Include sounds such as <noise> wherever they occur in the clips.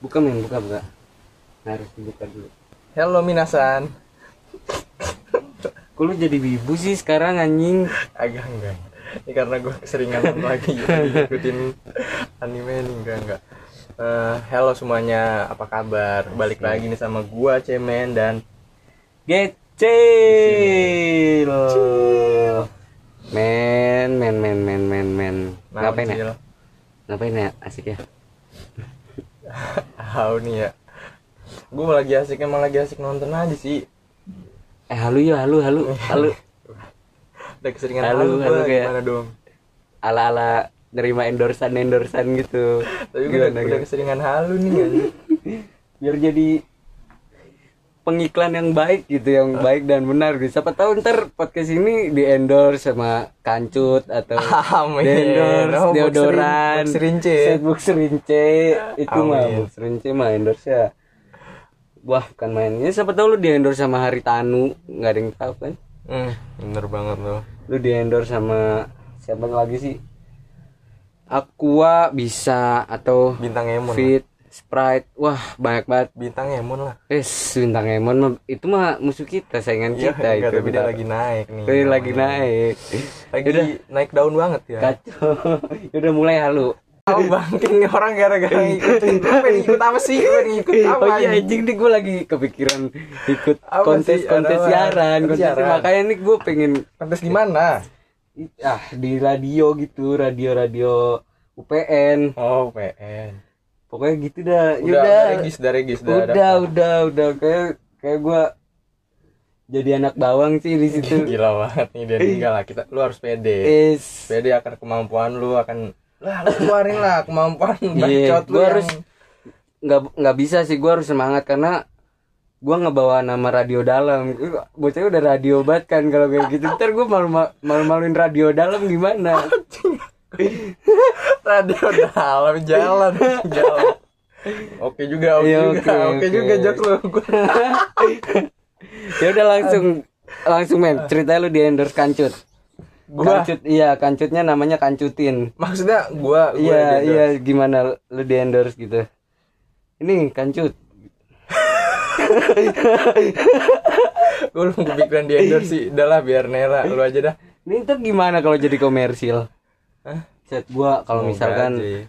Buka men, buka buka. Harus dibuka dulu. Hello Minasan. Kok lu jadi wibu sih sekarang anjing? Agak enggak. Ini karena gue keseringan <laughs> lagi ikutin anime nih enggak enggak. Eh, hello semuanya, apa kabar? Balik Iya. lagi nih sama gua Cemen dan Gecil. Men, men, men, men, men, men. Nah, Ngapain ya? Cil. Ngapain ya? Asik ya? Tahu nih ya. Gue lagi asik emang lagi asik nonton aja sih. Eh, halu yuk, halu, halu, halu. Udah keseringan Halo, apa, halo, kayak- gimana dong? Ala-ala nerima endorsan-endorsan gitu. Tapi gue udah, Gimana, udah gimana? keseringan halu nih <laughs> anjing. biar jadi pengiklan yang baik gitu yang baik dan benar gitu siapa tahu ntar podcast ini di endorse sama kancut atau <laughs> Amin. di endorse Oh, Box deodoran Rin- Box Rince. Set Box Rince. itu mah Amin. box rince mah endorse ya wah bukan mainnya siapa tahu lu di endorse sama Haritanu nggak ada yang tahu kan Hmm, bener banget loh. lu di endorse sama siapa lagi sih Aqua bisa atau Bintang Emon. lah. Fit Sprite wah banyak banget Bintang Emon lah. Eh, bintang Emon mah- itu mah musuh kita, saingan Iya, <laughs> kita enggak, itu. tapi dia Bentar. lagi naik nih. Dia lagi naik. Lagi naik daun banget ya. Kacau. <laughs> Udah mulai halu. Tahu bangkin nih orang gara-gara ngikutin. Gua pengen ikut apa sih? Gua pengen ikut oh apa? iya anjing? anjing nih gue lagi kepikiran ikut Apa sih? kontes-kontes Ada apa? siaran, Kontes kontes siaran. makanya nih gue pengen Kontes di mana? ah di radio gitu, radio-radio UPN. Oh, PN. Pokoknya gitu dah. Udah, Yaudah. udah regis, udah regis, udah. udah, udah, udah, kayak kayak gue jadi anak bawang sih di <laughs> situ. Gila banget nih dia tinggal lah kita. Lu harus pede. Is. Pede akan kemampuan lu akan lah lu keluarin lah kemampuan bacot lu gua yang- harus- nggak nggak bisa sih gue harus semangat karena gue ngebawa nama radio dalam Ih, bocahnya udah radio banget kan kalau kayak gitu ntar gue malu malu maluin radio dalam gimana radio dalam jalan jalan <laughs> oke juga oke Iya, oke, juga oke oke. juga jok lu Gua- <laughs> ya udah langsung langsung men ceritanya lu di endorse kancut gua kancut iya kancutnya namanya kancutin maksudnya gua gua iya gitu. iya gimana lu di endorse gitu ini kancut gua belum kepikiran di endorse sih udah lah biar Nera lu aja dah ini ntar gimana kalau jadi komersil Hah? set gua kalau Semoga misalkan aja.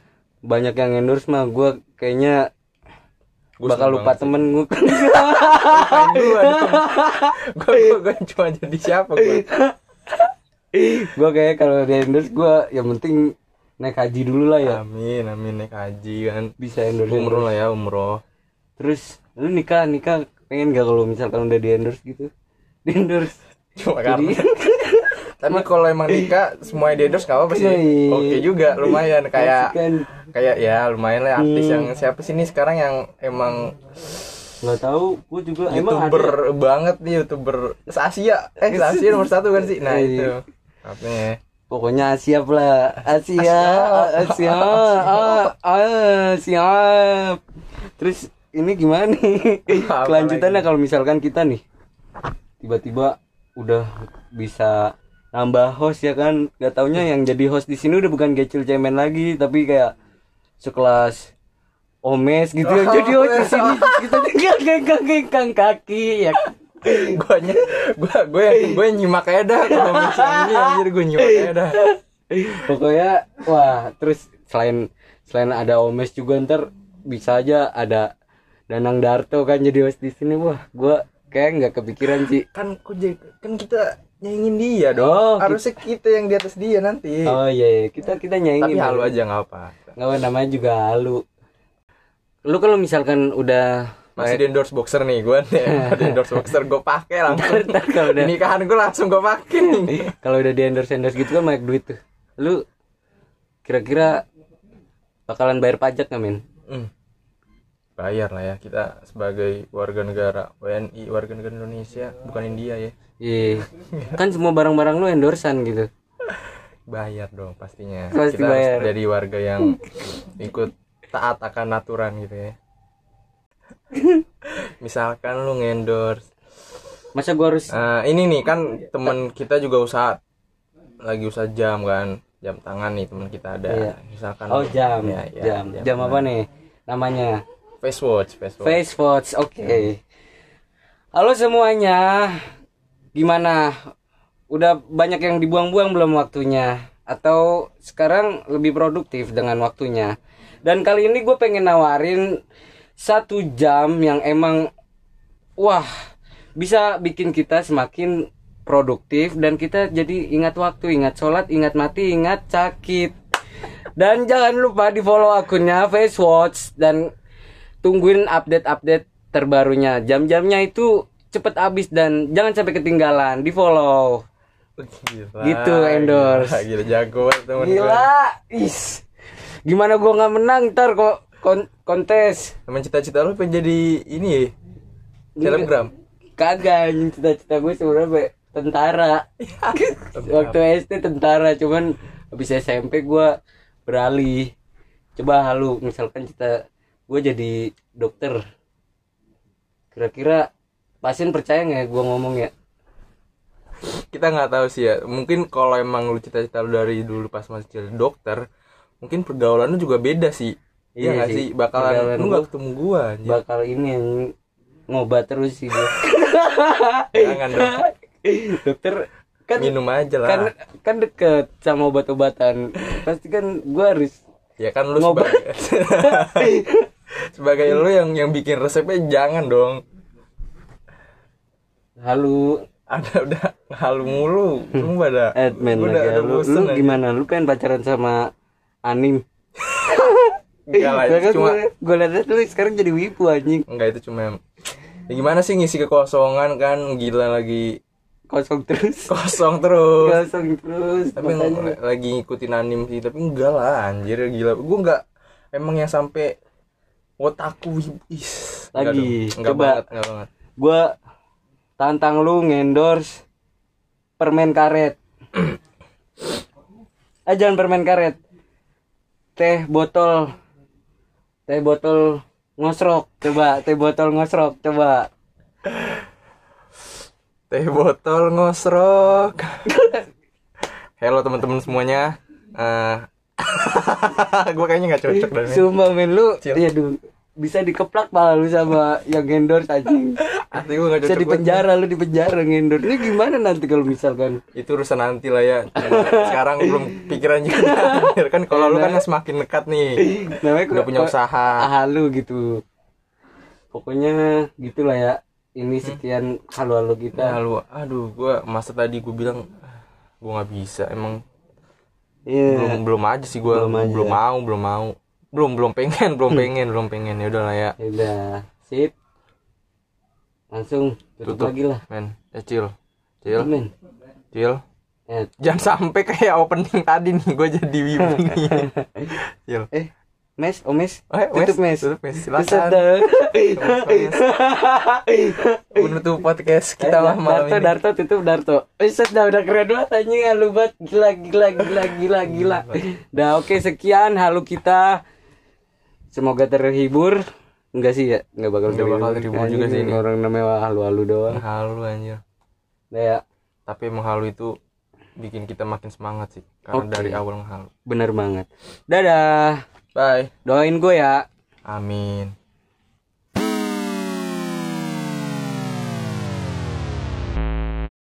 banyak yang endorse mah gua kayaknya Gua bakal seneng lupa banget sih. temen gua <laughs> Ngapain gua dong? <laughs> gua gua, gua cuma jadi siapa gua gua kayak kalau di endorse gua yang penting naik haji dulu lah ya amin amin naik haji kan bisa endorse umroh lah ya umroh terus lu nikah nikah pengen gak kalau misalkan udah di endorse gitu <laughs> di endorse cuma karena <laughs> Iya. tapi kalau emang nikah semuanya di endorse gak apa-apa sih Iya. oke juga lumayan kayak kan iya kayak ya lumayan lah artis yang siapa sih nih sekarang yang emang nggak tahu gua juga emang ada youtuber banget nih youtuber se Asia eh se Asia nomor satu kan sih nah Iya. itu apa ya pokoknya siap lah Ah, siap siap ah, ah, siap terus ini gimana nih Apa kelanjutannya kalau misalkan kita nih tiba-tiba udah bisa nambah host ya kan gak taunya yang jadi host di sini udah bukan kecil cemen lagi tapi kayak sekelas omes gitu ya jadi host di sini kita geng geng geng geng kaki ya gue gue gue gue nyimak aja dah kalau misalnya ini anjir gue nyimak aja dah pokoknya wah terus selain selain ada Omes juga ntar bisa aja ada Danang Darto kan jadi host di sini wah gua kayak nggak kepikiran sih kan kok jadi kan kita nyanyiin dia dong Oh, harusnya kita yang di atas dia nanti oh iya iya. kita kita tapi nyanyiin halu aja nggak apa nggak apa, namanya juga halu lu kalau misalkan udah masih di endorse boxer nih gue <laughs> nih di endorse boxer gue pakai langsung Ntar- Iya. ntar kalau udah- nikahan gue langsung gue pakai nih kalau udah di endorse endorse gitu kan banyak duit tuh lu kira-kira bakalan bayar pajak nggak men Hmm. Bayar lah ya kita sebagai warga negara WNI warga negara Indonesia bukan India ya Iya. kan semua barang-barang lu endorsean gitu bayar dong pastinya Pasti kita bayar. harus jadi warga yang ikut taat akan aturan <laughs> gitu ya misalkan lu ngendorse masa gua harus Eh, ini nih kan Iya. teman kita juga usaha lagi usaha jam kan jam tangan nih teman kita ada Iya. misalkan Oh jam, Ya, ya, jam, jam apa nih namanya? Face watch, face watch. Face Watch, oke. Halo semuanya, gimana? Udah banyak yang dibuang-buang belum waktunya? Atau sekarang lebih produktif dengan waktunya? Dan kali ini gue pengen nawarin satu jam yang emang wah bisa bikin kita semakin produktif dan kita jadi ingat waktu, ingat sholat, ingat mati, ingat sakit. Dan jangan lupa di follow akunnya Face Watch dan tungguin update-update terbarunya. Jam-jamnya itu cepet habis dan jangan sampai ketinggalan. Di follow. Gila, <laughs> Gitu, endorse. Gila, gila jago banget temen gue. Gila, is. Gimana gua nggak menang ntar kok kon- kontes? Temen cita-cita lu pengen jadi ini ya? Selebgram. Kagak, anjing. cita-cita gue sebenarnya be- <laughs> tentara. Waktu SD tentara, cuman habis SMP gua beralih. Coba halu, misalkan cita gue jadi dokter. Kira-kira pasien percaya nggak ya gue ngomong ya? Kita nggak tahu sih ya. Mungkin kalau emang lu cita-cita lu dari dulu pas masih kecil dokter, mungkin pergaulan lu juga beda sih. Iya Iya nggak sih. sih? Bakalan Pergaulan lu gua- nggak ketemu gua anjir. bakal ini yang ngobat terus sih gua. <laughs> Jangan dong. dokter kan Minum aja lah. kan kan deket sama obat-obatan pasti kan gua harus ya kan lu Ngobat. sebagai <laughs> sebagai lu yang yang bikin resepnya jangan dong. halu Ada udah halu mulu. Lu pada admin lagi gua udah- udah halu bosen lu anjir. gimana lu pengen pacaran sama anim Iya, Enggak kan lah, itu Iya, cuma gue liat lu sekarang jadi wibu anjing enggak itu cuma ya gimana sih ngisi kekosongan kan gila lagi kosong terus kosong terus. kosong terus Tapi ng- lagi ngikutin anim sih, tapi enggak lah anjir gila. Gua enggak emang yang sampai otaku is Lagi, enggak coba. banget, enggak banget. gue tantang lu ngendorse permen karet <clears throat> eh jangan permen karet teh botol teh botol ngosrok coba teh botol ngosrok coba Teh botol ngosrok. Halo teman-teman semuanya. Eh <laughs> gua kayaknya nggak cocok dan sumpah men lu Cil. ya bisa dikeplak pala lu sama yang ngendorse anjing Hati gua nggak bisa cocok. di penjara lu di penjara ngendorse ini gimana nanti kalau misalkan banget. Itu urusan nanti lah ya. Cuma Sekarang belum pikiran juga. Anjir, kan kalau lu kan semakin dekat nih. namanya Udah punya ko- usaha. halu gitu pokoknya gitulah ya ini Hmm. sekian halu-halu kita Lalu, Nah, aduh, gua masa tadi gua bilang "Ah, gua nggak bisa. Emang Iya. belum belum aja sih gua Belum aja. belum, mau, belum mau. Belum belum pengen, belum pengen, belum pengen. Ya udahlah ya. ya udah sip langsung tutup, Tutup. lagi lah Men, ya chill. Chill, amin chill. eh, Jangan sampai kayak opening tadi nih gue jadi wibu <laughs> nih. Yul. eh mes oh mes Eh, tutup mes Tutup mes. Tutup, Silakan. dah. <laughs> Menutup podcast Eh, kita lah malam Darto, ini. Darto, tutup Darto. Buset dah udah keren banget anjing halu banget. Gila gila gila gila gila. Dah oke sekian halu kita. Semoga terhibur. Enggak sih ya, enggak bakal Nggak bakal terhibur juga Anjing, sih ini. Orang namanya halu-halu doang. Halu anjir. Dah ya, Tapi menghalu itu bikin kita makin semangat sih. Karena Oke. dari awal menghalu. bener banget. Dadah. Bye. Doain gue ya. Amin.